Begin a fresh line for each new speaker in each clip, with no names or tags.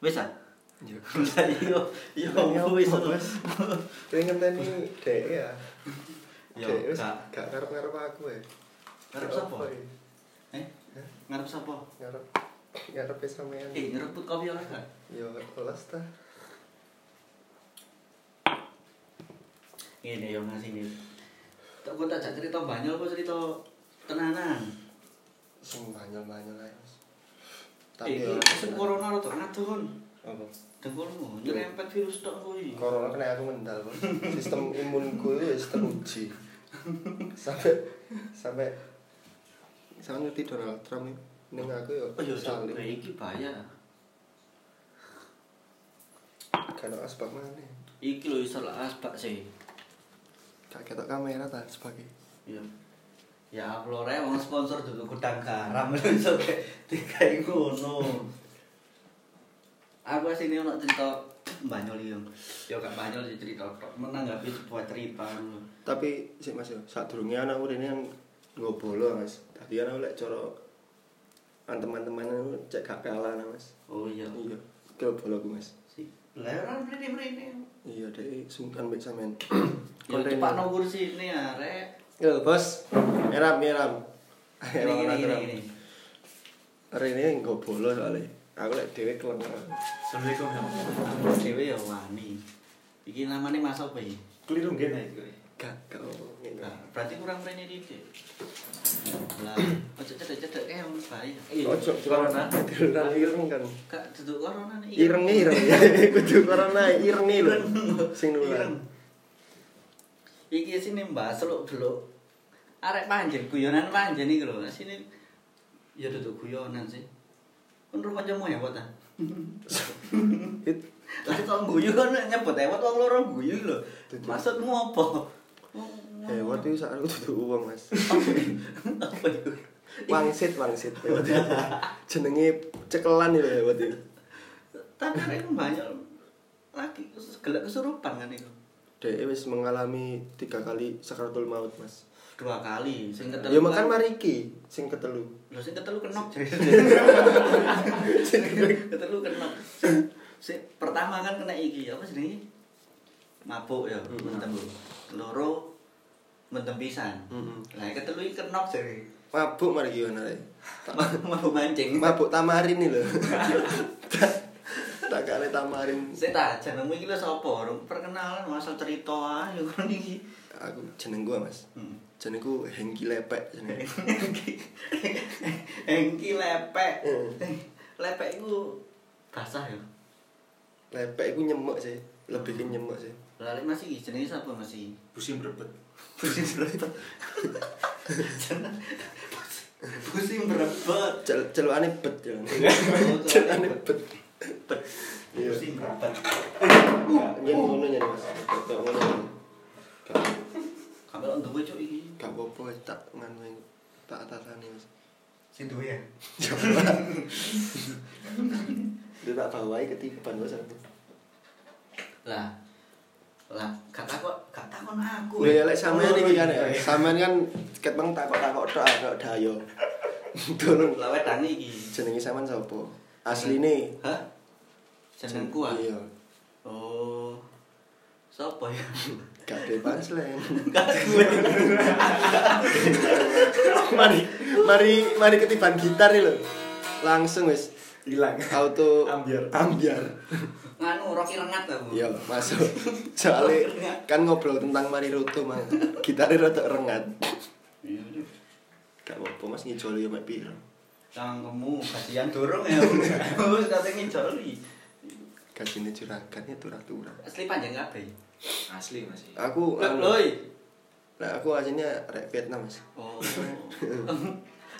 Wis ah. Yo yo wis.
Wes. Kowe ngenteni dhek ya.
Yo
Dhek wis
gak
gak ngarep-ngarep aku ya.
ngarep
Gak
sapa?
apa ya.
Eh? Ngarep sapa?
Ngarep ngarep sampean.
Eh, nyeruput kopi oleh gak?
Yo kelas ta.
Ngene yo ngasih ngene. Tak kok tak jak cerita banyol apa cerita tenanan.
Sing banyol-banyol ae. Mas.
Eh,
ya,
sing corona rada ngadon.
Apa?
Dengkulmu nyerempet virus tok kuwi.
Corona kena aku mental. Bos. Sistem imunku itu wis teruji. Sampai sampai sampai ngerti Donald Trump ini. ning aku yo
Oh yo
saling
cok, eh, iki bahaya.
kan asbak mana
Iki lho iso lah asbak sih.
gak ketok kamera ta sebagai
Iya. Ya upload ae wong sponsor dulu gudang garam iso kayak dikai ngono. Aku sini ono cerita banyol yo. Yo gak banyol sih cerita tok menanggapi sebuah cerita ngono.
tapi sik mas yo saat durungnya anak urine yang gue bolo mas tadi anak lek coro teman-teman aku cek gak kalah nah, mas
Oh iya.
iya gue bolo aku mas
Si leran mrene-mrene.
iya deh sungkan baik sampean
Yo
Konten-
cepakno kursine arek.
Yo, bos meram meram
Gini gini gini. gini.
Rene nggo bolo soalé. Aku lek dhewe kelengar.
Assalamualaikum ya.
Dewe yo wani. Iki namanya Mas apa iki?
Keliru nggih nek iki.
Gak gak ngene.
Nah, berarti kurang mrene iki. Lah, ojo cedek-cedek kae wong bahaya.
Ojo corona, corona ireng kan.
Kak duduk corona nih.
Irenge ireng. Kudu corona irenge lho. Sing
Ireng.
nular.
Iki sini mbak seluk beluk. Arek panjen guyonan panjen iki lho. Sini ya duduk guyonan sih. Kon rumah jamu ya ta.
It
Lah kok guyu kon nyebut ewot wong loro guyu lho.
Duduk.
Maksudmu apa?
hewan Eh, itu saat aku duduk uang mas.
Apa itu?
Wangsit wangsit. Hewan itu. Jenenge cekelan itu hewan itu.
Tapi arek iku banyak lagi gelek kesurupan kan itu.
Dia eh, wis mengalami tiga kali sakaratul maut mas.
Dua kali sing ketelu.
Ya makan mariki, sing ketelu.
Lho sing ketelu kenok. ketelu kenok. Sing pertama kan kena iki apa jenenge? Mabuk ya,
Hmm,
mentem. Loro mentem pisan.
Mm-mm.
Lah ketelu iki kenok jare.
Mabuk mariki ana. Rek.
Mabuk mancing.
mabuk tamarin nih loh tak kare tamarin
Sik ta jenengmu iki lho sapa? Rung perkenalan asal cerita ae kon iki.
aku jeneng gua mas
Hmm.
jenengku Hengki Lepek jeneng
Eh. Engki lepek. Eh,
Hmm.
Lepek iku basah ya.
Lepek iku nyemek sih lebih ke nyemek sih
Lah lek masih iki jenenge sapa masih?
Pusing berebet.
Pusing berebet. Jeneng- Pusing berebet.
Cel celukane bet ya celukane
Pusing
bet Iya.
berebet.
nyen Ya, ngono nyen mas kok ngono Gak-
Kabel on duwe cuk iki.
gak apa-apa wis, tak nganu yang tak tatane mas
Sing duwe ya.
dia tak bawai ketiban mas aku
Lah. Lah, gak takon gak takon aku.
Lha Oh, lek sampean iki kan ya. Sampean kan keteng takok-takok tok kok dayo. Tolong
Lah wedange iki.
jenenge sampean sapa? Asline
Hah? Jenengku ah.
Iya.
Oh. Sapa ya?
Gak ada punchline.
Gak gue.
mari mari mari ketiban gitar nih lho. Langsung wis
Hilang.
auto
Ambyar.
ambyar.
Nganu rock rengat aku.
Iya, masuk. Soale kan ngobrol tentang Mari Ruto mang. Gitare rada rengat. Gak apa-apa Mas ngijoli ya mek piro.
Cangkemmu kasihan dorong ya. Wis katenge joli.
Gajine juragan ya turah-turah.
Asli panjang kabeh.
Asli masih.
Aku
Lep loy.
Nah, aku aslinya rek Vietnam, Mas.
Oh.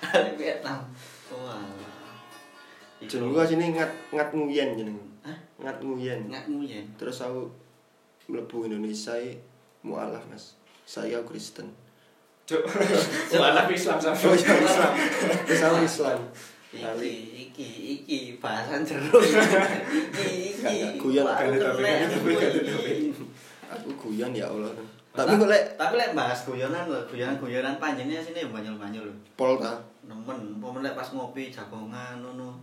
Arek Vietnam. Oh.
Jenengku aslinya ngat ngat nguyen jeneng.
Hah?
Ngat nguyen.
ngatmu ya.
Terus aku mlebu Indonesia i mualaf, Mas. Saya Kristen.
Cuk. Wala Islam
Oh,
sama.
iya Islam. Terus aku Islam.
Iki,
Lali.
iki, iki, bahasan jeruk. iki,
Gak,
iki.
gak, guyon,
Wah,
gak, gak,
telek
gak,
aku
gak,
iki.
Aku guyon ya Allah. Tapi kok lek
tapi lek bahas guyonan lho, guyonan-guyonan panjenengan sini banyol-banyol lho.
pol ta.
Nemen, pemen lek pas ngopi jagongan ngono.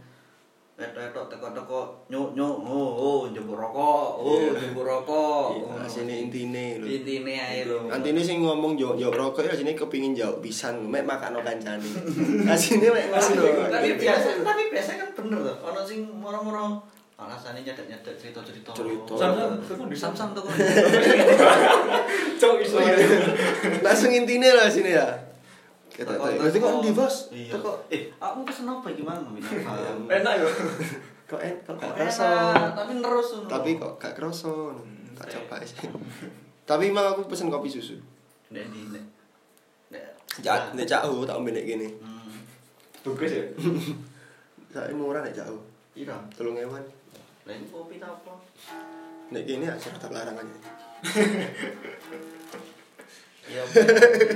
Etok-etok teko-teko nyuk-nyuk, oh, oh njupuk rokok, oh njupuk rokok. Oh.
Nah, sini oh. intine lho.
intine ae lho.
Antine sing ngomong yo yo rokok ya sini kepingin jauh pisan, mek makano kancane. Nah sini mek ngono.
tapi biasa tapi biasa kan bener loh ono sing moro-moro alasannya nyedak-nyedak cerita-cerita
Cerita.
Samsung,
Samsung
tukun
di
di
Samsung tuh
Cok iso ya.
Langsung intine lah sini ya. Kita
Teko-
tanya. Berarti kok
teko-
endi, Bos?
iya
Teko
eh aku pesen apa gimana
Enak yo.
kok en kok gak kerasa.
enak tapi terus
Tapi kok gak kerasa. Tak coba sih. Tapi emang aku pesen kopi susu.
nek di nek nek
Cak, nek cak tak ombe nek gini.
Hmm.
Tugas ya.
Saiki murah nek cak U.
ira
3000.
iya. lah ini kopi ta apa
Nek gini aja tetap larangannya.
iya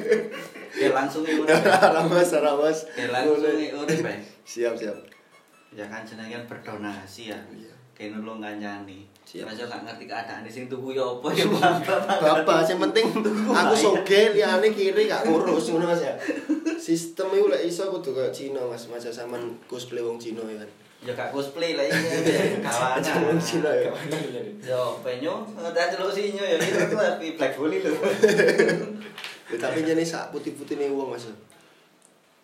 ya langsung ya
Ramas, ramas.
ya langsung ya urip ae.
Siap, siap.
ya kan jenengan berdonasi ya
Iya.
kene lu ngancani
Siap.
Masa gak ngerti keadaan di sing tuku ya apa ya bapak
Bapak, yang penting
Bahaya.
aku soge liane kiri gak ngurus ngono Mas ya. Sistem iku lek iso kudu koyo Cina Mas, masa sampean cosplay wong Cina ya kan.
ya gak cosplay lah ini
Macam wong Cina
kawanan
ya.
Kawanan ya. Dit.
yo penyo ada celuk sinyo ya itu tuh tapi black bully lho
Ya, Tapi jane sak putih-putihne wong Mas. ya.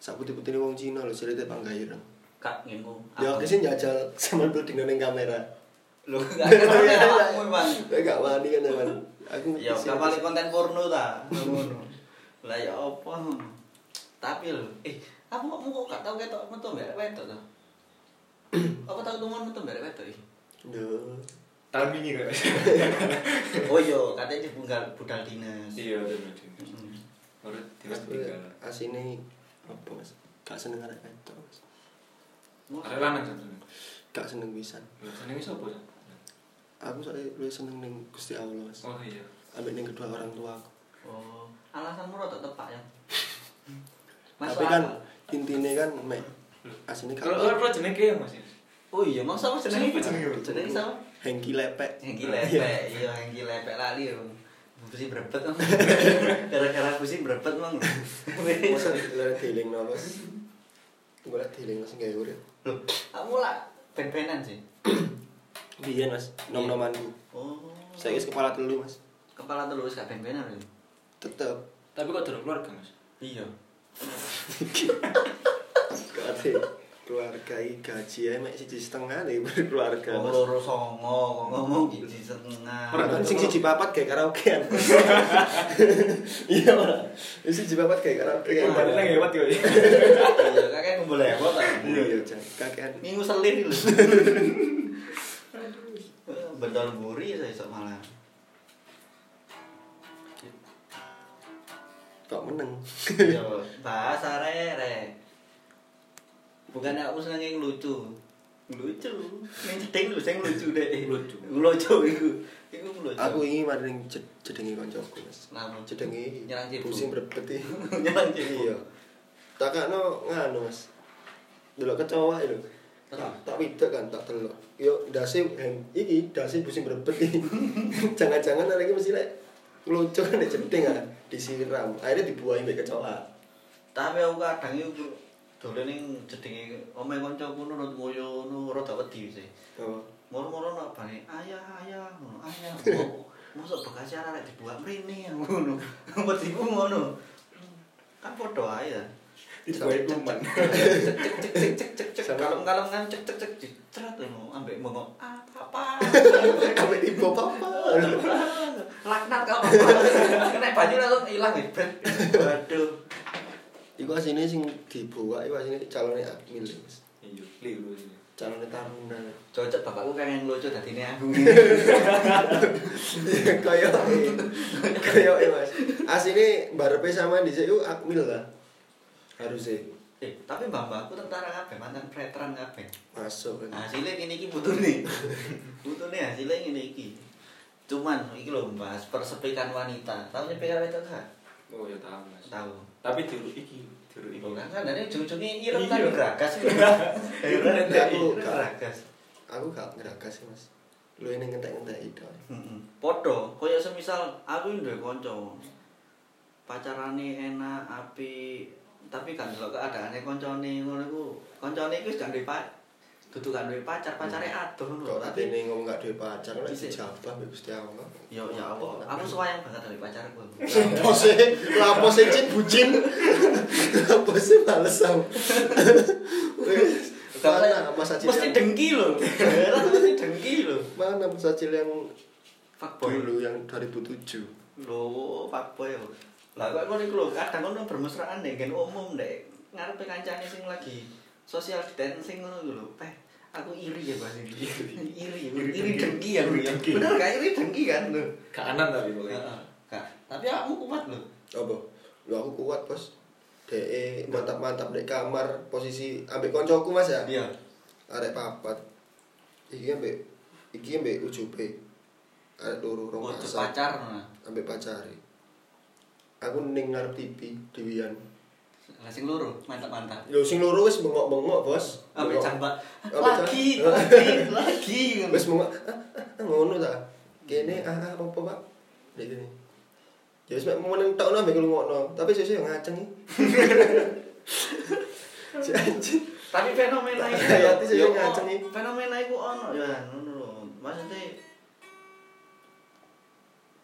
Sak putih-putihne wong Cina lho cerita panggayur.
kak ngimpu
Ya aku sih njajal sampean building nang kamera.
lu gak ngerti awakmu emang
Kowe gak wani kan sampean. Aku
ya
siap-
kapal konten porno ta ngono lah ya apa tapi lho eh aku kok kok gak tau ketok metu mbak wetok to apa tau tuman metu mbak wetok iki
Duh.
Tahun ini kan.
Oh iya, katanya dia bungal budal dinas.
Iya, tahun ini.
Mm.
Menurut
Mas
dinas tinggal.
asine apa Mas? Gak seneng arek wedok. Mas.
Ada lanang satu.
Gak seneng pisan.
Seneng iso apa? San?
Aku soalnya lebih seneng ning Gusti Allah Mas.
Oh iya.
Ambek ning kedua orang tua aku.
Oh, alasanmu rada tepat ya. Masuk
Tapi kan
akal.
intine kan mek asine gak.
Kalau orang pro jenenge ya Mas.
oh iya, masa apa jenenge?
Siapa jenenge?
Jenenge sama
Hengki lepek.
Hengki lepek, iya hengki lepek lali yo. Busi brebet Om. Gara-gara busi brebet mang.
Masa lere dealing no Mas. Gue lek dealing Mas gawe urip.
Loh, kamu lah ben-benan sih.
Biyen Mas, nom-nomanku.
Oh.
Saiki wis kepala telu Mas.
kepala terus gak ben-benan lho.
Tetep
Tapi kok durung keluarga Mas?
Iya.
kate keluarga i gaji ae mek siji setengah nih berkeluarga
Wong
Mas.
Oh, loro songo kok ngomong gigi setengah.
Ora,
Orang sing siji papat kayak karaokean. Iya ora. Wis siji papat kayak karaokean.
Wah,
Padahal lewat yo.
Iya, kakek kumpul lewat ta.
Iya iya Jan. kakean.
Minggu selir lho. Bedol buri saya esok malam.
Kok meneng.
Yo, bahasa re re. Bukan aku seneng yang lucu. Lucu. Ning jeding lho sing lucu deh.
Lucu.
Lucu iku. Iku lucu.
Aku ini maring jed- jedengi koncoku Mas.
Kenapa?
Jedengi
Nyerang cibu.
pusing berbeti.
Nyerang cibu.
Iya. Takakno nganu Mas. Delok kecoa lho.
Kenapa?
Tak widok kan tak delok. Yo dasi hen- iki dasi pusing berbet iki. Jangan-jangan arek iki mesti lek ngluncur nek jedeng ah disiram. Akhirnya dibuahi mbek kecoa.
Tapi aku kadang iku dolen ning jedinge omeh kancaku nurut moyo nurut gak wedi sih.
Oh.
Moro-moro nak bane ayah ayah ngono ayah. Ngopo? Mosok bekas arek arek dibuat mrene ngono. Wediku ngono. Kan podo ae ya.
Dibuat kuman.
cek cek cek cek cek cek cek
Sama-
kalem kalem kan cek cek cek cek cerat lo ambek bengok apa apa
Kabeh ibu papa.
laknat kau apa kena baju langsung hilang ya bret waduh
Iku asine sing dibawa iku asine calone Akmil, Mas.
Iya, keliru sih.
Calone Taruna.
cocok bapakku pengen lucu dari ini aku
Kaya kaya Mas. Asine barepe sama dhisik iku Akmil lah. Haruse
eh tapi mbak-mbakku tentara kabeh mantan veteran kabeh
masuk kan.
hasilnya gini iki butuh nih butuh nih hasilnya gini iki cuman iki lho bahas persepikan wanita tahu nyepikan wanita gak
Oh ya tahu Mas.
tahu
Tapi diru iki, diru iki.
Bukan kan, dari ujung-ujungnya ireng
Iya.
tapi geragas gitu. Ireng
Iya,
tapi
aku-
geragas.
Aku gak ngeragas sih, Mas. Lu ini ngentek-ngentek itu.
Mm-mm. Podo, koyo semisal aku ini duwe konco. Pacarane enak, api, tapi kan delok keadaane koncone ngono iku. Koncone iku wis gak duwe pa- Dudu gak duwe pacar, pacare adoh ngono.
Kok
Tapi-
ini ngomong gak duwe pacar, lek
Dhisik.
dijabah mbek Gusti Allah.
Yo ya Allah, aku sayang banget dari pacarku.
Lapo sih, lapo sih cin bucin. Lapo sih males aku. Wes, Mana Mas Acil
Mesti
yang
dengki lho. Heran mesti dengki lho.
mana Mas Acil yang
Fuckboy.
dulu yang 2007?
Lho, fuckboy. yo. Lah kok ngono iku lho, kadang ngono bermesraan nek gen umum nek ngarepe kancane sing lagi social distancing ngono iku lho. Peh, aku iri ya bahasa ini. Iri, iri, iri dengki ya. Bu, ya. Bener gak iri dengki kan lho.
kanan tapi pokoknya
Heeh. Kak, tapi aku kuat lho.
Apa? Lu aku kuat, Bos. DE mantap-mantap di kamar posisi ambek koncoku Mas ya.
Iya.
Arek papat. Iki ambek iki ambek ujube. Arek loro rong
Untuk
pasar.
pacar nah.
Ambek pacare. Aku ning ngarep TV dewian.
Lah sing loro, mantap-mantap.
Yo sing loro wis bengok-bengok, Bos.
Ambek
Bengok.
jambak.
Ambek
Lagi,
jambak.
lagi, lagi.
Wis mau ah, ah, ah, ngono ta. Kene ah ah apa Pak? Dek kene. Ya wis mek mau nang tokno ambek ngrungokno, tapi sesuk yo ngaceng iki. Si anjing.
Tapi fenomena itu
Ya, hati saya
yo,
ngaceng iki.
Fenomena itu ono ya ngono lho. Maksudnya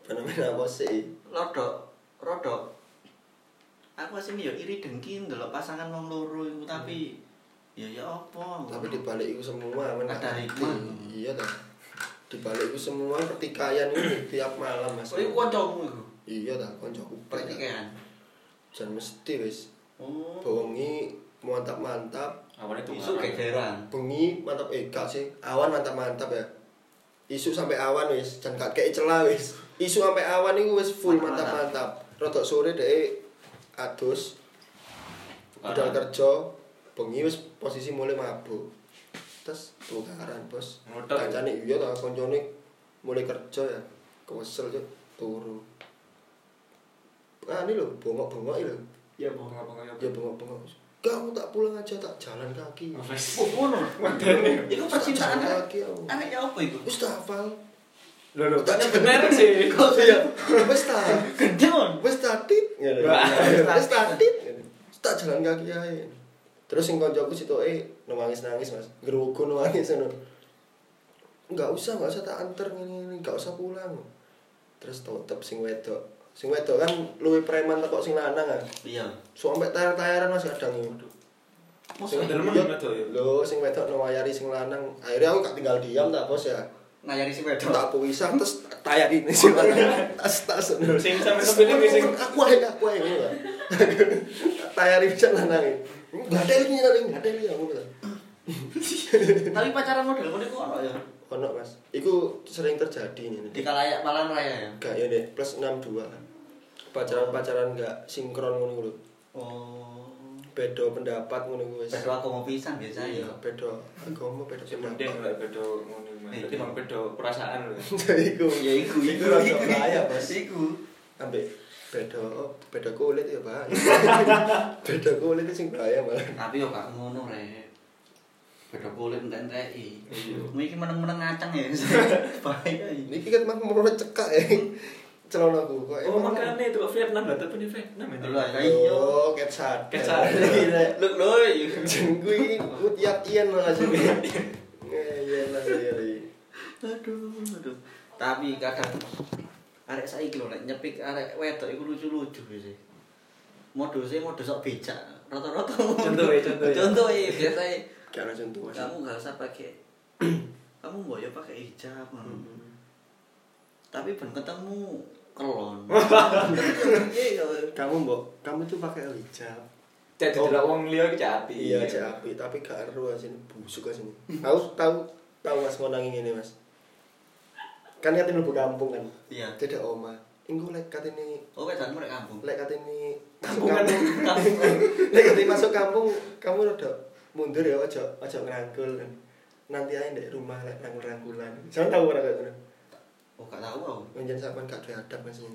Fenomena apa sih?
rodok rodok aku asine yo iri dengki ndelok pasangan wong loro iku tapi ya ya apa
Tapi dibalik itu semua
Ada
menakati.
hikmah.
Iya ta. Dibalik itu semua pertikaian ini tiap malam Mas.
kowe kancamu iku
Iya ta, koncoku prek.
pertikaian
Jan mesti wis
oh
bengi mantap-mantap,
awalnya tuh
isu kederan
bengi mantap eh gak sih, awan mantap-mantap ya. Isu sampai awan wis, jan gak kei celah wis. Isu sampai awan iku wis full
Mantap-mantap.
mantap-mantap. Rodok sore dhek adus, budal
Tukaran.
kerja bengi wis posisi mulai mabuk terus tukaran bos
Ngotot.
kancane iya ta koncone mulai kerja ya kewesel yo turu ah ini lho bongok-bongok iki lho
ya
Apa, apa, apa, apa.
ya bongok-bongok kamu tak pulang aja tak jalan kaki
Apa sih?
Oh, ngono. Iku percintaan.
Tak jalan kaki aku
Aneh ya apa iku?
wis tak hafal
Loh, loh, tanya bener sih
kok ya wis tak
Gendon.
wis tatit
Wah.
wis tatit Wis tak jalan kaki ae terus sing koncoku sitoke nangis nangis mas gerugu nangis ngono nggak usah nggak usah tak anter ngene ngene nggak usah pulang terus tetep sing wedok sing wedok kan luwih preman tekok sing lanang kan
Iya.
so sampe tayar-tayaran mas kadang yo
Mosok
Sing delem- wedok ya?
lho sing wedok nawayari sing lanang akhirnya aku gak tinggal diam tak bos ya
ngayari si wedok.
tak puisa terus tayarin sing lanang tas tas
Sing sampe sepele iki sing
aku ae aku ae ngono lah. Tayari bisa lanang. Enggak ada ini nanti enggak ada ini aku bilang.
Tapi pacaran model ngono iku ono ya.
Ono Mas. Iku sering terjadi ini.
Di kalayak palan raya ya.
Enggak ya Dek, plus 62. Pacaran-pacaran enggak sinkron ngono lho.
Oh.
Beda pendapat ngono iku wis.
Bedo aku mau pisan biasa ya.
Iya, beda agama, beda
Ya mending
pendapat.
lah beda ngono Mas.
Iya.
Tapi emang beda perasaan lho.
Iku
Ya iku
Iku rada bahaya, Mas.
Iku.
ambek beda beda oh, kulit ya, Pak. beda kulit itu sing bahaya malah.
Tapi yo gak ngono rek. Bedo kulit entek-enteki.
Iya.
Mungkin meneng-meneng ngaceng ya. Bahaya ini.
Niki kan mah mau cekak ya. Celana aku kok.
Oh,
emang-
makanya itu Vietnam lah, tapi ini Vietnam
Lho, lah,
ya.
ya iya.
Yo, cat sadar.
Cat sadar.
Gila.
Look lho.
Jengku ini mutiap ian lah sih. Iya lah iya. iya.
Aduh, aduh. Tapi kadang arek saiki lho nek nyepik arek wedok iku lucu-lucu sih. Moduse modus sok becak. Rata-rata ngono.
Contoh ya, contoh e. ya.
Contoh ya, biasanya
Karena contoh aja.
kamu gak usah pakai kamu mbok yo pakai hijab.
Hmm.
ngono. Tapi ben ketemu kelon. Iya,
Kamu mbok, kamu tuh pakai hijab.
Cek delok wong liya iki cek api.
Iya cak api, tapi gak ero sini busuk aja sini. Tahu tahu tahu mas mau nanging ini mas. Kan katanya lu kampung kan.
Iya.
Tidak oma. Engko lek katanya
Oh, wedan mereka kampung.
lek katanya masuk
Kampungan.
kampung. Lek katanya masuk kampung, kamu rada mundur ya ojo ojo ngerangkul kan. Nanti aja di rumah lek rangkul-rangkulan. Jangan tahu orang kayak gitu.
Oh, gak tahu aku.
Menjen sampean gak duwe adab mas ini.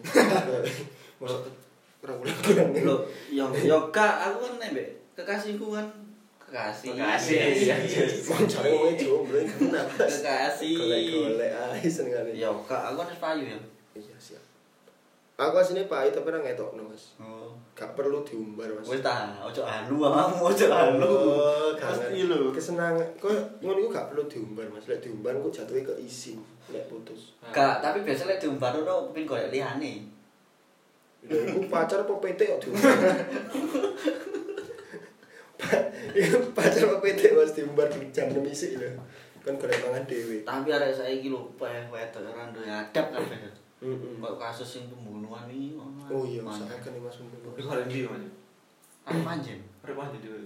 Masuk rangkulan-rangkulan.
Loh, yo yo gak aku kan nembek kekasihku kan kekasih.
Kekasih, iya.
Wong jare kowe jomblo iki kenapa?
Kekasih.
Iya. Golek-golek ae senengane.
Ya, Kak, aku kan payu ya.
Iya siap. aku aslinya pahit tapi orang ngetok mas
Oh.
gak perlu diumbar mas
Wis ta, ojo halu awakmu, ojo halu.
Oh.
Pasti lho.
kesenangan kok ngono iku gak perlu diumbar mas lek diumbar kok jatuhnya ke isin lek putus
Nah.
Gak, tapi biasanya diumbar ono mungkin koyo liyane.
lho iku pacar apa PT kok diumbar Pa- iku pacar apa PT mas diumbar di jam 6 isik lho kan golek mangan dhewe
Tapi arek saiki lho peh wedok ora duwe adab kabeh.
Mm-mm.
Kok kasus sing pembunuhan iki ono.
oh iya
Manjen.
usahakan nih mas mumpuni
Iku kalian dia mana?
Arek manjen.
Arep mandi dhewe.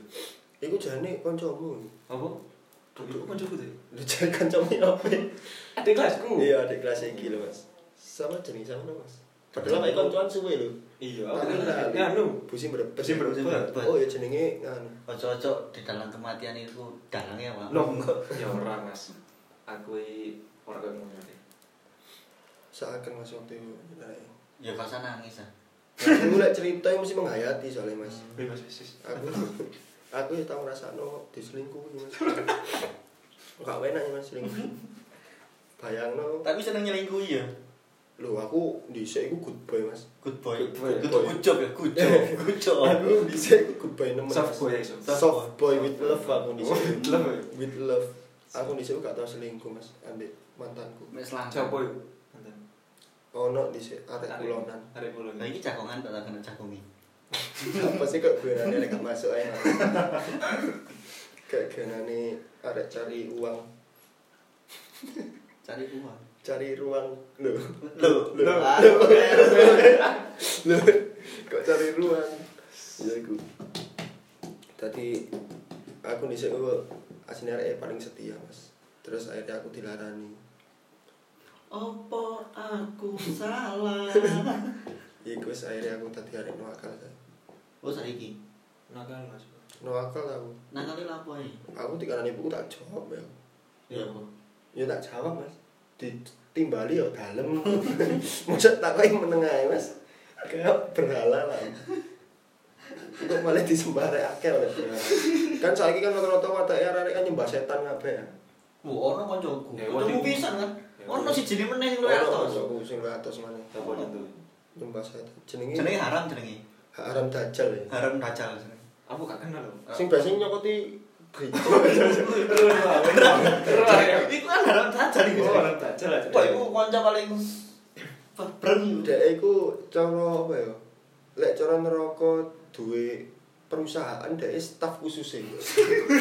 iku jane kancamu
Apa? Duduk kan cukup deh.
lho jane kancamu apa
Adik kelasku.
iya adik kelas iki lho mas sama jenis sama mas padahal kayak kancuan suwe lho
Iya, aku
tapi
kan
lah
nganu.
busi berebet
Busi berebet.
oh iya jenenge nganu
Ojo-ojo di dalam kematian itu dalangnya apa?
Ya ora, Mas. Aku iki ora koyo ngono deh.
seakan mas waktu itu Nah, ya.
Ya pasang nangis ah.
aku lek cerita yang mesti menghayati soalnya mas
Wih, Mas Sis.
aku aku ya tau ngerasa no diselingkuhi mas gak enak ya mas selingkuh bayang no
Tapi seneng nyelingkuhi ya.
lho aku dhisik iku good boy mas
Good boy.
Good boy.
Good good job ya, good job. Good job.
aku dhisik iku good boy nemen
Soft
mas.
boy, soft boy.
soft boy with love aku dhisik
With love, ya?
with love aku dhisik gak tau selingkuh mas ambek mantanku
Mek selangkah.
Soft boy. Mantan.
ono dhisik arek kulonan
Arek kulonan.
Lah Nah, iki jagongan tak tak kena jagongi.
apa sih kok gue nanti gak masuk aja kayak gue nanti ada cari uang
Cari uang.
cari ruang lo
Loh,
Loh.
loh, loh.
lo kok cari ruang ya aku tadi aku di sini aslinya arek paling setia mas terus akhirnya aku dilarani
Opo aku salah?
Iku wis akhirnya aku tadi arek noakal ta.
Oh saiki.
Nakal, Mas.
Noakal aku.
Nakale lapo ae?
Aku dikarani buku tak jawab ya.
Ya apa?
Ya tak jawab mas. Ditimbali ya dalem. Maksud tak kaya meneng ae mas. Kayak berhala lah. Kok malah disembah rek akeh oleh berhala. Kan saiki kan rata-rata watake arek kan nyembah setan kabeh ya.
Oh, ono koncoku.
Ya,
Ketemu
waduh.
pisan kan.
Ya,
Ono
waduh.
si jenenge meneh sing luwih
Ono
atos.
aku sing atas mana.
Soft boy itu.
Nyembah setan. Jenenge
Jenenge haram jenenge.
Hak haram dajal ya.
Haram dajal jenenge.
Aku gak kenal loh.
Sing biasanya nyokoti gereja. ya.
Iku kan haram dajal iku.
Oh, orang tajal aja.
Wah, iku kanca paling bereng
Dek iku cara apa ya? Lek cara neraka duwe perusahaan dek staf khusus e.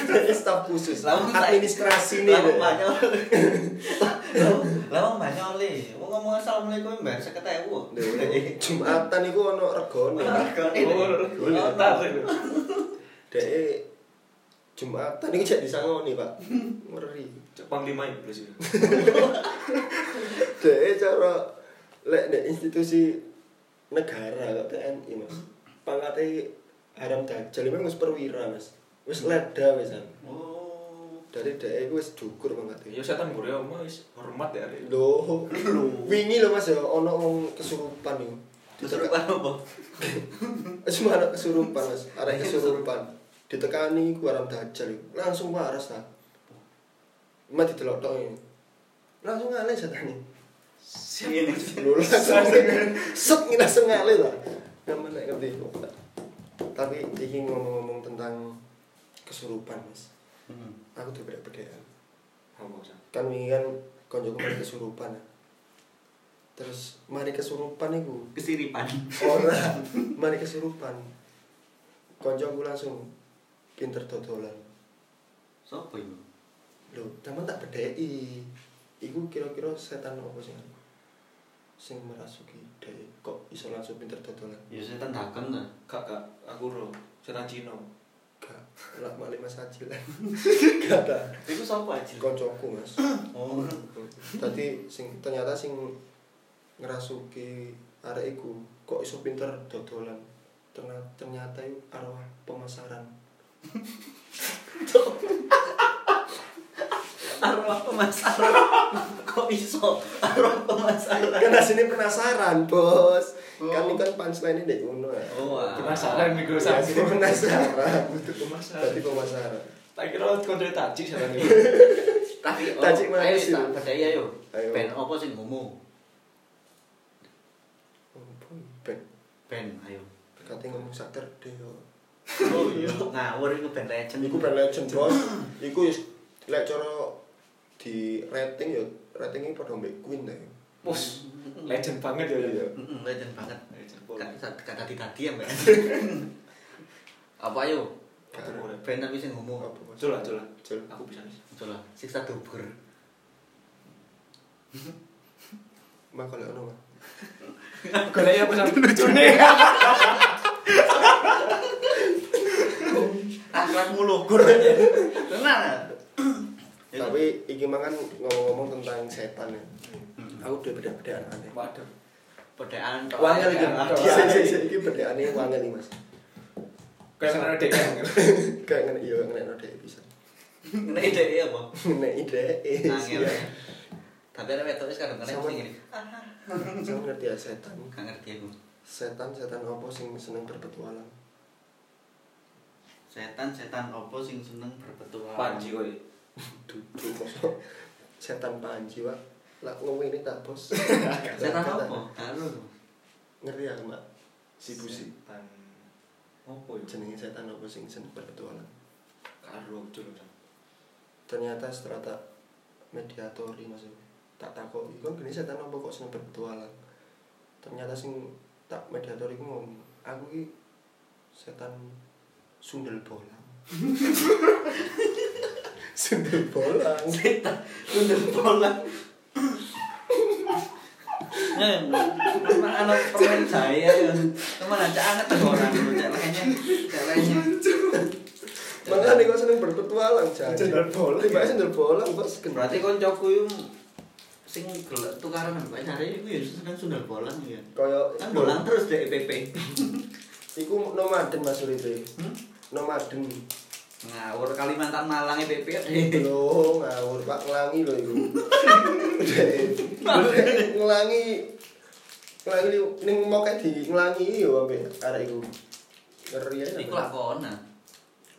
Dek staf khusus.
Lah,
Administrasi nih.
Lawang
dek.
banyak. Lawang banyak le. Wong ngomong assalamualaikum mbak 50000.
Dek, Jumatan iku ono regane.
Oh,
Oh,
tajal.
Dek Jumatan iku jadi sangoni, Pak. Ngeri.
Panglima Iblis. ya.
Dek cara lek dek institusi negara kok TNI, Mas. Pangkate haram dajal memang wis perwira, Mas. Wis leda wisan.
Oh.
Dari dek iku wis dukur pangkate.
Ya setan bure omah wis hormat ya arek.
Loh, wingi lho Mas ya ono wong kesurupan yo.
Kesurupan apa?
Cuma anak kesurupan Mas, arek kesurupan. Ditekani ku aram dajal yo. Langsung waras ta. Cuma didelok tok yo. Langsung ngale jatane.
Sini.
Lho langsung set ngira langsung ngale ta. Kamu nek ngerti kok. Tapi iki ngomong-ngomong tentang kesurupan Mas.
Hmm.
Aku dibedek-bedekan.
Ngomong San.
kan wingi kan konjoku mari kesurupan terus mari kesurupan iku
Kesiripan.
ora mari kesurupan konjoku langsung pinter dodolan
Sopo iku?
lho zaman tak bedheki iku kira-kira setan apa sing anu? sing merasuki dhek kok iso langsung pinter dodolan
Ya setan dagang ta.
Kak, kak, aku ro setan Cina.
gak lak male mas ajil gak ta
Iku sopo aja?
koncoku mas
Oh.
tadi sing ternyata sing ngerasuki arek iku kok iso pinter dodolan ternyata ternyata iku arwah pemasaran
Arwah pemasaran. Kok iso arwah pemasaran?
kan aslinya penasaran bos kan ini kan punchline ini uno ya
Oh, wah.
Penasaran nih gue
Ya,
sama.
aslinya penasaran
Butuh pemasaran.
tadi pemasaran
Tak kira kau dari tajik setan itu.
Tapi oh,
Tajik
ayo
manis
tak
itu.
percaya yo.
Ayo.
Ben apa sing ngomong?
Oh, boy.
Ben, ayo.
Kate ngomong Saturday yo.
Oh iya. Ngawur iku ben legend.
Iku brand legend bos. Iku is lek cara di rating yo ratingnya pada mbek Queen ta yo.
Bos, legend banget ya.
Iya.
Mm-mm, legend banget.
Legend banget.
Kata tadi-tadi ya, Ben. Apa ayo? Ben tapi sing homo.
Apa bos?
Cul lah, cul lah.
Cul.
Aku bisa nih.
Itulah, siksa dubur.
Mak kalau ono mah.
Goleknya apa sih? Lucu nih.
Akhlakmu lugur. Tenang. Iya.
Tapi iki mah kan ngomong-ngomong tentang setan ya. Aku udah beda-bedaan aneh.
Waduh.
Pedaan tok.
Wangel iki.
Iya, iya, iya, iki bedaan ini wangen nih mas.
Kayak mana dek?
Kayak ngene iya ngene ide bisa.
Ngene ide ya, Bang.
Ngene ide. eh,
Angel.
iya.
Tapi ada metode sekarang kadang
Sama.
mesti gini.
Saya ngerti ya setan.
Gak ngerti aku.
Setan setan apa sing seneng berpetualang?
Setan-setan opo sing seneng berpetualang?
Panji kowe.
Duduk mosok. Setan panji wak. Lah ngomong ini tak bos.
Setan opo? Halo.
Ngerti ya mbak. Si busi.
Setan. Apa ya?
Jenenge setan apa sing seneng berpetualang?
Karo aku cul.
Ternyata strata mediatori mas. Tak takok. Iku gini setan apa kok seneng berpetualang? Ternyata sing tak mediatori ku ngomong. Aku ki setan sundel bolang. sundel bolang.
Setan bener bola. Ya, cuma anak permen saya ya. Cuma aja anget tuh orang lu celahnya. Celahnya.
Makanya kok seneng berpetualang, Jan.
Sendal bolang.
Tiba sendal bolang, Bos.
Berarti koncoku yo sing gelek tukaran mbak cari iku yo seneng sundal bolang ya.
koyo
Kan bolang terus deh PP.
Iku nomaden Mas Uripe.
Hmm?
Nomaden.
Ngawur Kalimantan Malang E PP.
Lho, ngawur Pak ngelangi lho iku. Ngelangi ngelangi li- ning moke di ngelangi yo ambek arek iku. Ngeri aja.
Iku lakona.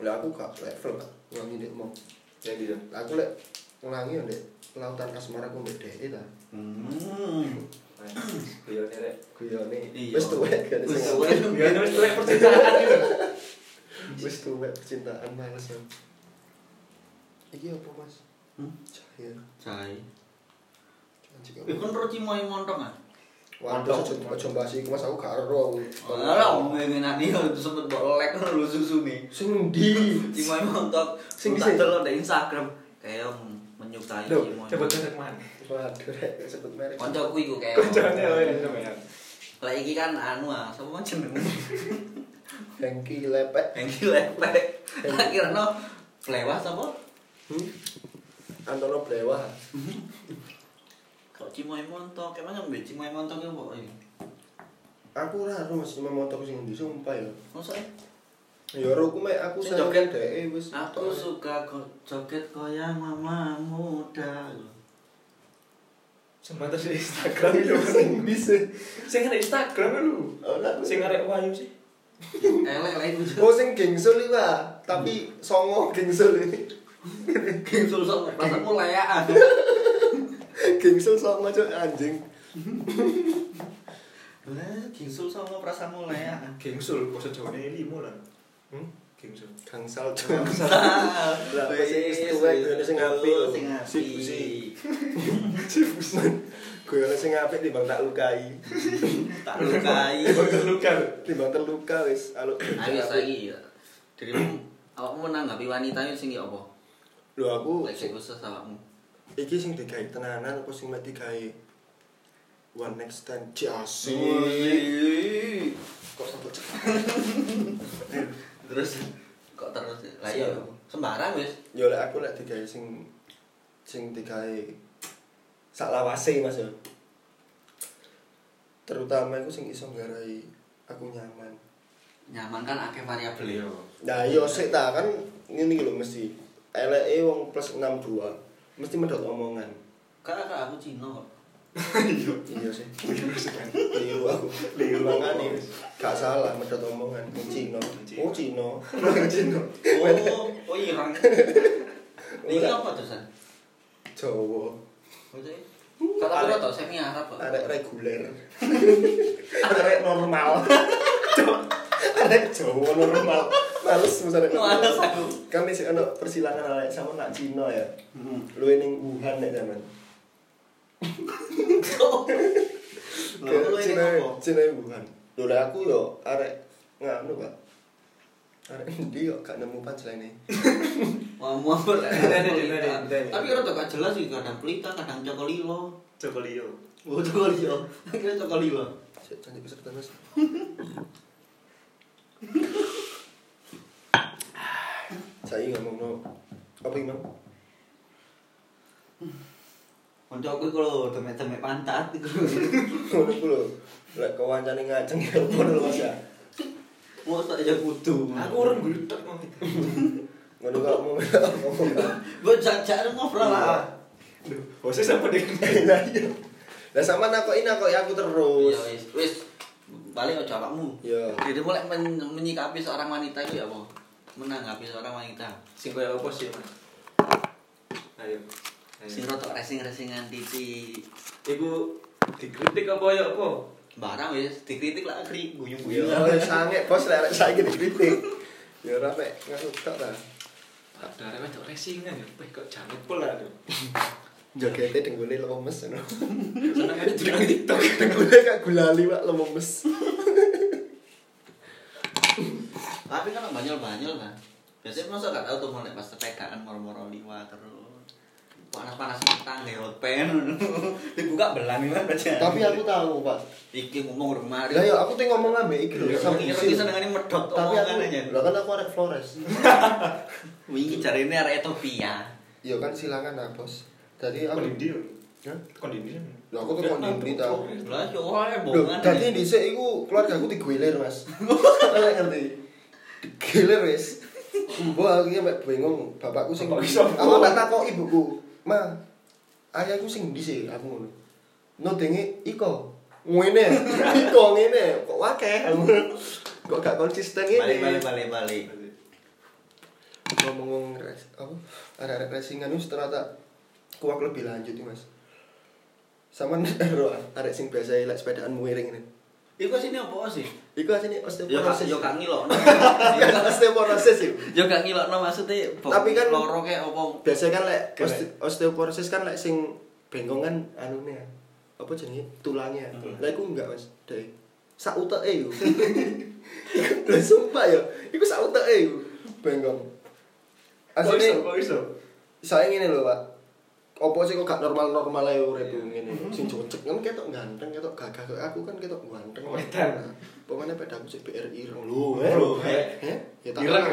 Lah aku gak level Pak. Ngelangi nek mau.
Yang gitu.
Lah aku lek ngelangi yo nek lautan asmara ku mbek dhek ta.
Hmm.
Iya nih rek.
Guyone
Iya.
wis tuwek gak
Wis
sing
tuwek.
Iya nih wis tuwek percintaan gitu.
wis tuwek percintaan males ya. Iki apa Mas?
Hmm?
Cahaya.
Cai.
Janji kamu.
Iku nro cimoi montong ah.
Waduh, ojo ojo bahas iku Mas aku gak ero.
Ora ngomongin ati yo sempet mbok lek lho susu nih.
Sing ndi?
Cimoy montok sing
Sing bisa.
tak delok di Instagram kayak menyukai
Loh,
Cimoy.
coba cek mana?
Waduh, rek sebut merek.
Koncoku iku kayak.
Kencangnya loh ini namanya.
Lah iki kan anu ah, sapa jenenge?
Hengki lepek.
Hengki lepek. Akhirnya lewat sapa?
Hmm? Antono Blewa.
Kok Cimoy montok? Kayak mana mbek Cimoy montok iku kok ini?
Aku ora ero Mas cuma motor sing ndi sumpah ya.
Masa eh?
Ya ero ku mek aku
Sing
seneng
joget.
dhek wis.
Aku suka ko- joget koyak mama muda.
Cuma terus di Instagram itu bisa. Sing ada Instagram lu.
Ora.
Sing ada Wahyu sih.
Elek lah iku.
Oh sing gengsul iki, Pak. Tapi songo gengsul iki.
Gengsul sok pas aku leakan.
Gengsul songo cok anjing.
Lah, gengsul sama perasaanmu ya. leakan.
Gengsul, bahasa Jawa ini limo lah.
Hmm?
Gengsul.
Gangsal cok. Lah,
Lah,
wis, wis, wis, sing apik, lho.
sing
Si,
apik.
si. Cipusan. Gue sing apik timbang tak lukai.
Tak lukai.
Emang terluka.
Timbang terluka wis. Aluk.
Ayo saiki ya. Dirimu awakmu menanggapi wanita itu sing ya apa?
Lho aku
Lek khusus awakmu.
iki sing digawe tenanan apa sing mati gawe one next time jasi
Wih.
kok sampe cek
Terus kok terus lah ya
Siapa?
sembarang wis.
yo lek aku lek digawe sing sing digawe sak lawase Mas yo terutama iku sing iso nggarai aku nyaman
Nyaman kan akeh variabel ya.
nah yo sik ta kan ngene iki lho mesti eleke wong plus 62 mesti medot omongan
Kakak aku Cina kok.
iya sih liru aku liru makane gak salah medot omongan Wong Cina oh Cina Wong Cina
Oh, oh Irang. Ini
Ora.
apa terusan?
Jawa
Maksudnya Kata kira tau semi Arab kok.
arek reguler arek normal arek Jawa normal males misalnya
Males aku.
kan masih ono persilangan arek sama nak Cina ya luwe ning Wuhan nek zaman
Lho, lu ini
Cina
apa?
Cina Wuhan lho lah aku yo arek nganu Pak arek ndi kok gak nemu pancelene
Wah, mau apa?
Dene, dene, dene.
Tapi kira tau gak jelas sih kadang pelita, kadang cokolilo.
Coba liyo.
Oh, cokolilo. Kira cokolilo.
Cek, cantik peserta mas saya ngomong no apa imam
Kanca aku kalau temek-temek pantat iku.
ngono ku lho lek kawancane ngajeng ya ngono lho mas ya
Mau tak aja kudu.
Aku orang gulutak mau gitu.
ngono kalau mau ngomong
Gue jajak ngobrol lah.
Duh, bosnya sama dengan
lah iya lah sama nakoki nakoki aku terus
Iya wis, wis. Balik aja awakmu.
Iya.
Jadi mulai men- menyikapi seorang wanita itu ya apa? Menanggapi seorang wanita.
sing koyo apa sih, Mas? Ayo.
Sing
Ayo.
rotok racing-racingan titik.
Iku dikritik apa ya apa?
Barang wis dikritik lah kri
Iya,
guyung-guyung.
ya sange bos lek arek saiki dikritik. Ya ora mek ngasuk tok ta.
Ada arek wedok racingan ya, Wih, kok jamet pula ya. lho.
Jogete denggule lemes ngono.
Senengane jeneng TikTok.
Denggule gak gulali Pak lemes.
Tapi kan banyol-banyol kan. Biasanya masa gak tau tuh mulai pas pegangan moro-moro liwat terus. Panas-panas petang ya hot pen. Dibuka belang kan aja.
Tapi aku tahu, Pak.
iki ngomong rumah.
Lah ya aku teh ngomong ambek iki lho.
Iya,
sama
iya,
Usil.
bisa dengan ini medot
Tapi aku
omongan aja.
lah kan aku arek Flores.
Wingi jarene arek Ethiopia.
Iya kan silakan lah, Bos. Jadi aku
Kondindi.
Hah?
Kondindi.
Lah aku tuh kondisi tau.
Lah iya, yo ora
Loh,
bohongan.
dadi dhisik iku keluarga aku digilir, Mas. Kalian ngerti? Digilir wis. Mbok aku iki mek bingung, bapakku sing
Bapak iso.
Aku tak takok ibuku, "Ma, ayahku sing ndi sih?" Aku ngono. "No denge iko." Ngene, iko ngene, kok akeh. Aku ngono. Kok gak konsisten
Balik balik
ngene.
balik balik.
Ngomong res, apa? Arek-arek racingan wis ternyata kuak lebih lanjut iki, Mas. Sama ero arek sing biasa lek sepedaan muiring ini.
Iku sini apa sih?
Iku asine
Yo gak
osteoporosis.
yo gak ngilokno.
Kan osteoporosis sih.
Yo gak ngilokno maksudnya bo-
Tapi kan-
loro kayak apa?
Biasanya kan lek
Keren.
oste- osteoporosis kan lek sing bengkong kan anune ya. Apa jenenge? Tulangnya.
Hmm.
Lah iku enggak, Mas. Dek. Sak e uteke yo. Lah sumpah yo. Iku sak uteke yo bengkong.
Asline
Asline
kok iso?
saya ngene lho, Pak. Opo sih kok gak normal-normal ae urip ngene. Sing cocok kan ketok ganteng, ketok gagah kayak aku kan ketok ganteng.
Wedan.
Pokoknya pedaku sih BRI ireng lho. eh.
Bro,
Eh, ya tak
Ireng.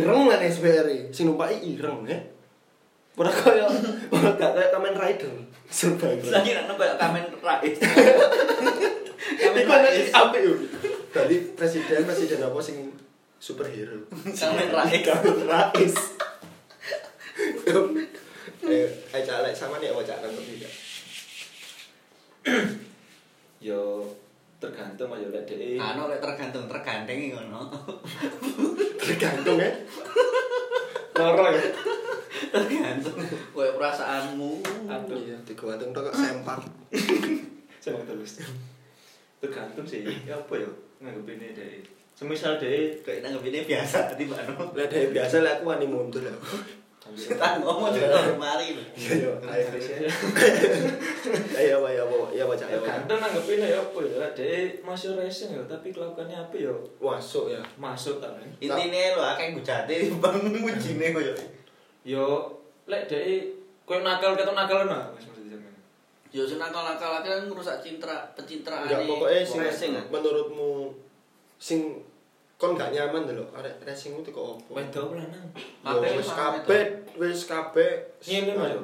Ireng lah SBRI. Sing numpaki ireng, eh. Ora kaya ora gak kaya Kamen Rider.
Lah iya.
Survivor.
ngilokno kayak kamen rais. Kamen
Iku nek
rais.
apik yo. Dadi presiden presiden apa sing superhero?
Kamen rais.
Kamen Rais. Eh, ayo cak lek sama nih awak cak kan tapi gak.
Yo tergantung aja lek dhek.
Anu lek tergantung tergandeng iki ngono.
Tergantung ya.
Loro ya.
Tergantung koyo perasaanmu.
Aduh.
Iya, digantung tok kok sempak.
Sama terus. Tergantung sih ya apa ya nganggepine dhek. Semisal dhek
Kayak nanggepine biasa tadi Mbak Anu.
Lek dari biasa lek aku wani mundur lho.
Kita ngomong juga kemarin.
Iya, ayo. Ayo, ayo, ayo, ayo, Cak, ayo, Cak.
Kadang nanggepinnya ya apa ya, dia masih racing ya, tapi kelakuannya apa ya,
Masuk ya.
masuk tak kan?
Intine lho akeh gujate bang mujine koyo.
Yo, lek dia, kau nakal kata nakal nah, mas maksudnya zaman.
Yo senang nakal-nakal kan ngrusak cintra pencitraan
Enggak pokoknya sing eh.
racing. kan?
menurutmu sing kon gak nyaman lho arek racingmu teko opo?
Wedo lanang,
Yo,
Kabeh
wis
sama
kabeh, wis kabeh.
ini mas yo.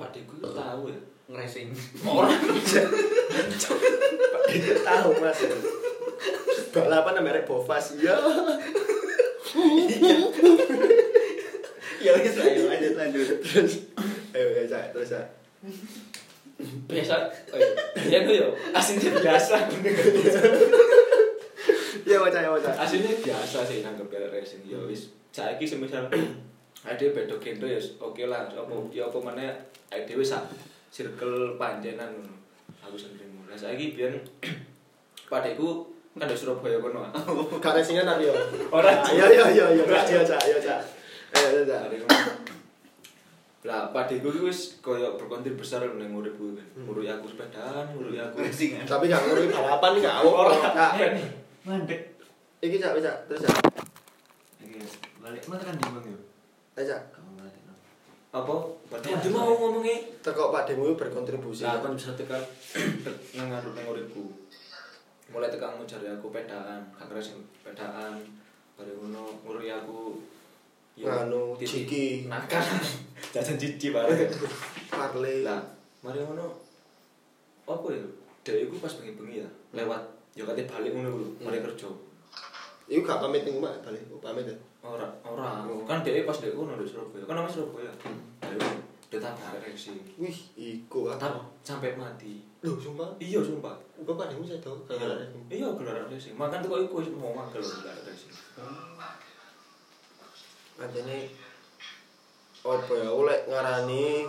Adikku itu tahu ya.
ngracing.
Orang
Itu tahu Mas. Balapan sama arek Bovas. Iya. Iya,
Ya wis ayo lanjut lanjut.
Terus ayo ya Cak, terus ya.
biasa, oh, iya. ya itu yo, aslinya biasa,
Iya, Cak, iya, Cak.
aslinya biasa sih nanggepin racing. Yo, is, saya semisal ada bedo kendo ya, oke lah, apa, ya apa mana, ada wis sak- circle panjenan ngono. Aku sendiri mulai. Saiki biyen padeku kan di Surabaya kono. ah.
Gak resingan tapi yo.
Ora, Cak.
Iya iya iya iya Cak, iya Cak, iya Cak. Ayo ayo, Cak.
Padeku. Lah padeku iki wis koyo berkontribusi besar nang uripku kan.
Hmm.
Ngurui aku sepedaan, ngurui aku
eh?
Berisingan.
Tapi gak ngurui balapan nih gak
Ora.
apa. Cak.
mandek
Iki Cak, Cak, terus Cak.
Ini.
balik mana kan dimbang yo
Ayo Cak.
kamu balik no.
Apa? Padahal mau ngomongnya
Tekok Pak Demu berkontribusi.
Lah kan bisa tekan nang ngarep nang uripku. Mulai tekan cari aku pedaan, gak keras yang pedaan. Baru ngono nguri aku
Nganu,
titik
ciki.
nakal. Jajan cici bareng.
Parley.
Lah, mari ngono apa ya? Dewe iku pas bengi-bengi ya, lewat yo kate balik ngono lho, mari kerja.
Iku gak pamit ning Mak, balik. Oh, pamit ya.
Ora, ora. Kan dewe pas dewe ngono di Surabaya. Kan nama Surabaya. Dewe dia tabrak sih.
Wih, iku apa?
Tab sampai mati.
Loh, sumpah.
Iya sumpah.
Gua Pak Demu saya tahu
Iya,
gara-gara ini.
iya gelaran racing. Makan tuh kok iku wis mau makan gelaran racing.
Antene apa ya oleh ngarani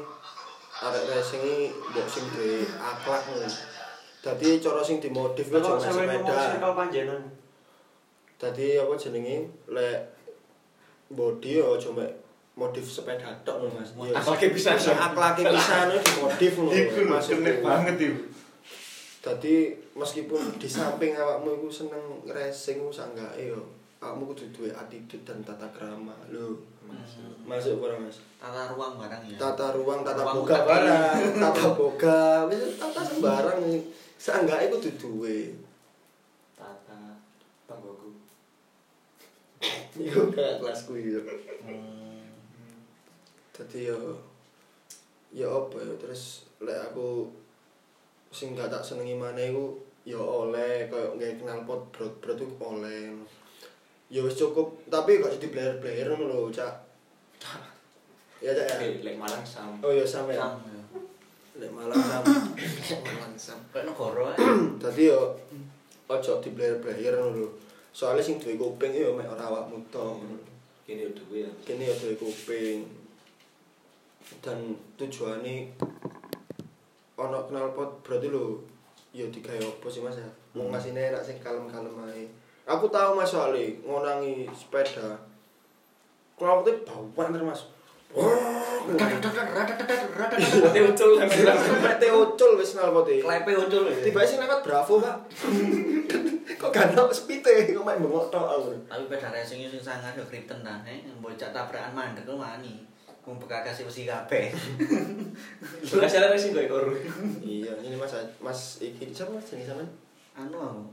arek racing iki mbok sing duwe akhlak ngono. Dadi cara sing dimodif ku
Kalau
aja
sampai ngomong
sepeda.
circle panjenan,
Dadi apa jenenge lek body ya aja mek modif sepeda tok lho Mas. Iya.
Akhlaknya bisa, Sam.
Akhlake pisan lho, dimodif lho. Maksudku.
itu.
Dadi meskipun di samping awakmu iku seneng racing ku sanggake yo. Awakmu kudu duwe attitude dan tata krama lho. Masuk ora Mas?
Tata ruang barang ya.
Tata ruang, tata
Ruang
boga
utang.
barang, tata boga, wis tata sembarang iki. Sanggake kudu duwe.
Tata tanggoku.
Iku gak kelasku yo.
Hmm.
Dadi yo ya apa ya terus lek aku sing gak tak senengi maneh iku ya oleh koyo nggae knalpot brot-brot iku oleh. Ya wis cukup, tapi gak jadi player-player ngono lho, Cak. Ya Cak ya.
Oke, lek Malang sam.
Oh ya sampe.
Sam.
Lek malam sam. Malam sam.
Kayak negara eh. ae.
Dadi yo ojo di player-player ngono lho. Soale sing duwe kuping yo mek ora awakmu tok.
Kene udah gue ya.
Kene yo duwe kuping. Dan tujuane ana knalpot berarti lho yo digawe opo sih Mas ya? Wong ngasine enak sing kalem-kalem ae. Aku tahu Mas soale ngonangi sepeda. Knalpotnya bau banter Mas.
Tapi ucul kan.
Mete ucul wis knalpotnya.
Klepe ucul ya.
tiba sih nekat bravo pak kok gak tau sepite kok main bengok tau aku
Tapi pada racing sing sangar yo kripten nah, eh bocah tabrakan mandek lu wani. Wong bekakas mesti kabeh.
Sudah salah racing gue koru.
iya ini mas mas iki siapa mas jenis saman
Anu aku.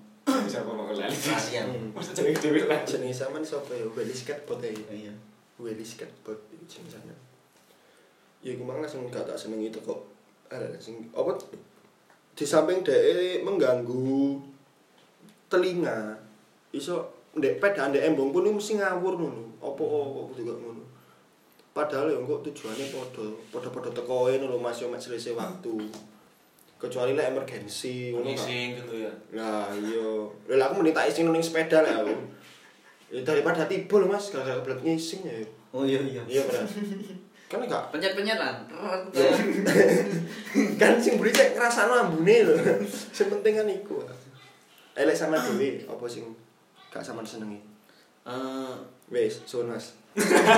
Siapa mau kelali?
Latihan.
Hmm.
Masa jadi dewe lah.
jenis saman siapa ya weli skateboard ya
Iya.
weli skateboard itu jenis saman ya gue malah langsung gak tak seneng itu kok ada sing apa di samping dek mengganggu telinga iso ndek pedaan ndek embong pun iku mesti ngawur ngono apa-apa juga ngono padahal ya kok tujuannya podo podo-podo tekoe ngono lho Mas yo mek selesai waktu kecuali lek emergensi ngono kan
Ngising gitu ya.
nah iya lha aku mending tak ising ning sepeda lek aku ya daripada tiba lho Mas gara-gara kebelet ngising ya
Oh iya iya.
iya bener kan enggak
Pencet-pencet kan.
kan sing beri cek ngrasakno ambune lho. Sing penting kan iku. Elek sama dhewe apa sing gak sampean senengi.
Eh
Wis, suwun Mas.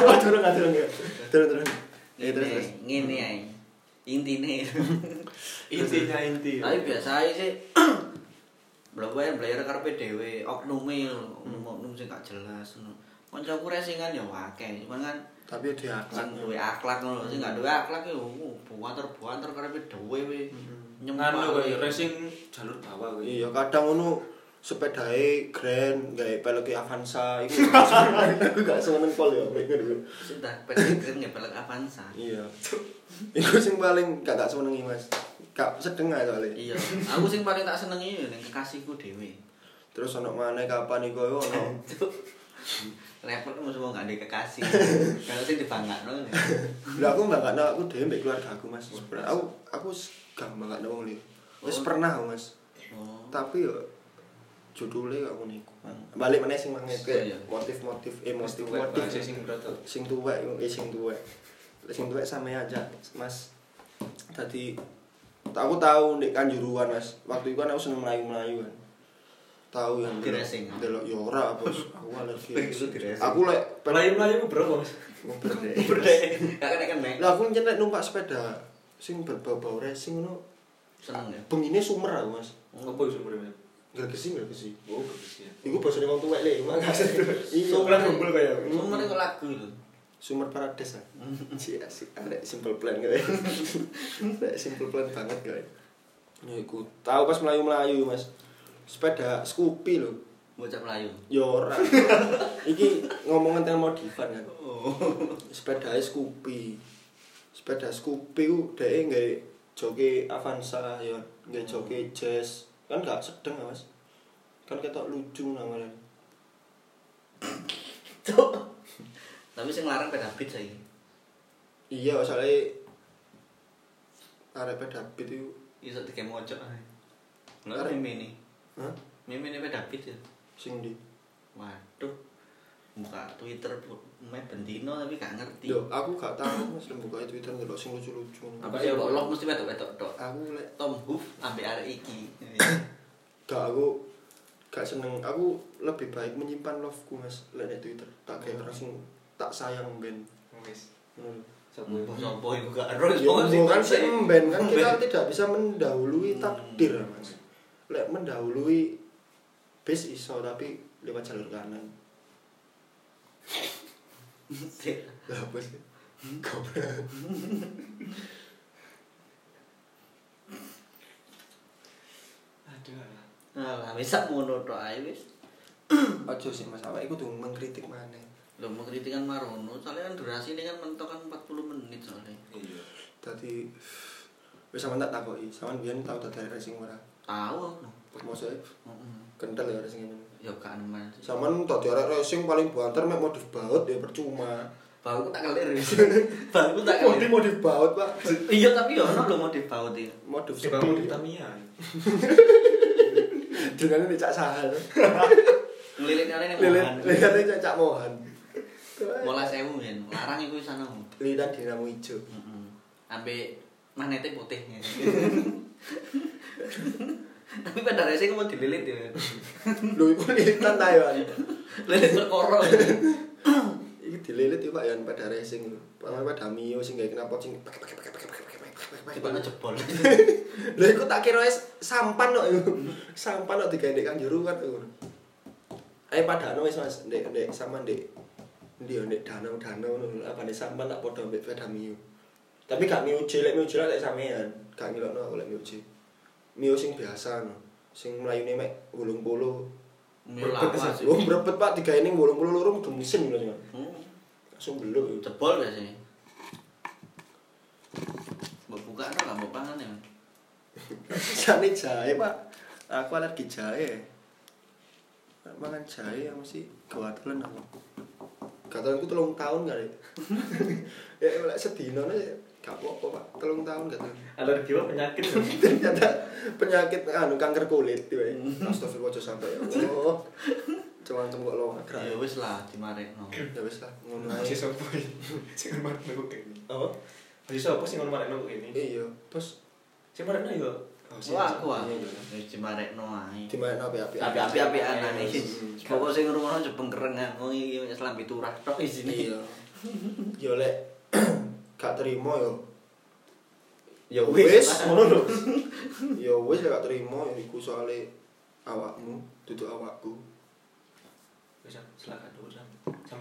Oh, Turun gak turun ya. Turun turun. Ya terus
ngene
terus. Iya.
ngene ae. Intine.
Intinya inti.
Tapi biasa ae sih. Blayer blayer karepe dhewe oknume lho. oknum-oknum sing gak jelas ngono. Kancaku racingan ya akeh, cuman kan
Tapi dia akhlak.
sing duwe akhlak ngono, sing gak duwe akhlak yo buanter-buanter karepe dhewe.
Nyengan lo gue racing jalur bawah gue.
Iya, kadang ngono sepedae grand gawe peleke Avanza iku. Aku gak seneng pol ya mek ngono.
Sudah, pedestrian nggak pelek Avanza.
Iya. Iku sing paling gak tak senengi Mas. Gak sedeng ae soalnya.
Iya, aku sing paling tak senengi yo ning kekasihku dhewe.
Terus ono maneh kapan iku ayo ono
Repot mesti wong gak ada kekasih. Kalau sing dibanggakno. ngene.
Lah aku mbak aku dhewe mbek keluarga aku
Oh,
Mas. Sebenarnya Aku aku s- gak mbak wong liya. Wis pernah aku, Mas.
Oh.
Tapi yo judule kok ngono iku. Balik meneh sing manget
Hmm. Iya.
motif-motif
Mesti
emotif
gue
motif
racing berat tuh.
sing tuwek iku eh sing tuwek. Sing tuwek sama aja Mas. Tadi aku tahu di kanjuruan mas waktu itu kan aku seneng melayu melayu kan tahu yang
Diresing.
delok ya ora bos aku alergi
Pengen itu diresing.
aku lek
Melayu melayu ku berapa mas?
Berdek. Gak kena-kena.
lah aku nyenek numpak sepeda sing berbau-bau racing ngono
Seneng ya.
bengine sumer aku mas
Apa itu sebenarnya?
gregesi gregesi
Oh bagus ya.
iku basane wong tuwek le makasih iya
Sumer.
kumpul kaya
Sumer itu lagu itu.
Sumber Paradise ah. Si asik arek simple plan kayak. Arek simple plan banget kayak. Ya iku tahu pas melayu-melayu Mas. Sepeda Scoopy lho.
Bocah Melayu.
Ya ora. Iki ngomong tentang modifan kan. Oh. Sepeda Scoopy. Sepeda Scoopy ku dhek nggawe joki Avanza ya, nggawe joki Jazz. Kan gak sedeng ya, Mas. Kan ketok lucu namanya.
Tapi sing larang beda beat saiki.
Iya, soalnya arek sepeda beat itu
Iso dikemo mojok ae. Lha
Larang.
meme ini.
Hah?
Meme ini beda beat ya.
Sing di
Waduh. Buka Twitter meh bendino tapi gak ngerti.
Yo, aku gak tahu mas buka Twitter ndelok sing lucu-lucu.
Apa sih kok log mesti wedok-wedok tok.
Aku lek
Tom Hoof ambek arek iki.
gak aku gak seneng. Aku lebih baik menyimpan loveku mas lek di Twitter. Tak kayak orang sing tak sayang ben.
Wis.
Ngono.
Sopo?
Sopo iku gak ero
Ya,
sing
kan sing ben kan kita
Mben.
tidak bisa mendahului
Hmm.
takdir mas. Lek mendahului bis iso tapi lewat jalur kanan.
Sik.
Lah apa sih? Goblok.
Aduh.
Nah,
alah.
wis sak ngono tok ae wis.
Ojo sih mas, awak iku tuh mengkritik mana?
Lho mengkritikan Marono, soalnya kan durasi ini kan mentok kan 40 menit soalnya.
Iya.
Tadi wis sampean tak takoki, sampean biyen tau dadi racing ora?
Tahu aku.
Maksudnya
Heeh.
kental ya racing ini.
Ya gak nemen.
Sampean tadi arek racing paling banter mek modif baut ya percuma.
Bauku tak kelir. wis. Bauku tak
Modif
kelir.
modif baut, Pak.
Iya tapi ya ono lho modif baut iki.
Modif
Coba mau
sepi.
Tamiya.
Dengane dicak sahal.
Ngelilit-ngelilit
Lilit
mohan.
lilitane cak mohan.
Mola 1000 men. Larang iku sana.
Lilitan dinamo ijo.
Heeh. Ambe magnete putih. ya. Tapi pada racing mau dililit ya.
Lho iku lilitan ta yo.
Lilit perkara.
Iki dililit yo Pak yo pada racing. Paman pada Mio sing gawe knalpot sing pakai pakai pakai pakai pakai pakai pakai pakai
Coba
pakai.
jebol.
Lho iku tak kira wis sampan kok yo. Sampan kok digendek kan juru kan. yo. Ayo padano wis Mas, ndek ndek sampean ndek ndi yo ndek danau-danau ngono apa nek sampean tak padha mbek sepeda Mio. Tapi gak Mio jelek Mio jelek lek sampean, gak ngilokno aku lek Mio jelek. Mio sing biasa no. Sing mlayune mek 80.
Melawas.
Wong brebet Pak digawe ning 80 loro mudun mesin lho sing.
Hmm.
Langsung beluk. yo.
Jebol ya sih. Mbok buka ora lah mbok pangan ya.
Jane jahe, Pak. Aku alergi jahe. Nek Mangan jahe ya mesti gawatelan aku. Gawatelanku telung tahun kali. ya lek sedina nih gak apa-apa, Pak. Telung tahun gawatelan.
Alergi apa penyakit?
Ternyata penyakit anu kanker kulit tiba. Astagfirullah aja sampai ya Allah. Cuman cem kok lo
Ya
ngerak.
wis lah dimarekno.
Ya wis lah, ngono
Masih
ae.
sopo? Sing ngomong aku kene.
Apa?
Masih sopo sing ngomong aku kene?
Iya, bos.
Sing marane yo.
Wah, aku ah.
Iya, iya.
Wis dimarekno ae.
Di mana api-api?
Api-api api anak iki.
Hmm.
Pokok sing ngrungono jebeng kereng ah. Wong iki wis lambi turah tok isine.
Iya. Yo lek gak terima yo
Ya
wis
lah.
ngono lho ya wis ya gak terima ya iku soalé awakmu duduk awakku
Wis silakan dulu Sam. Sam.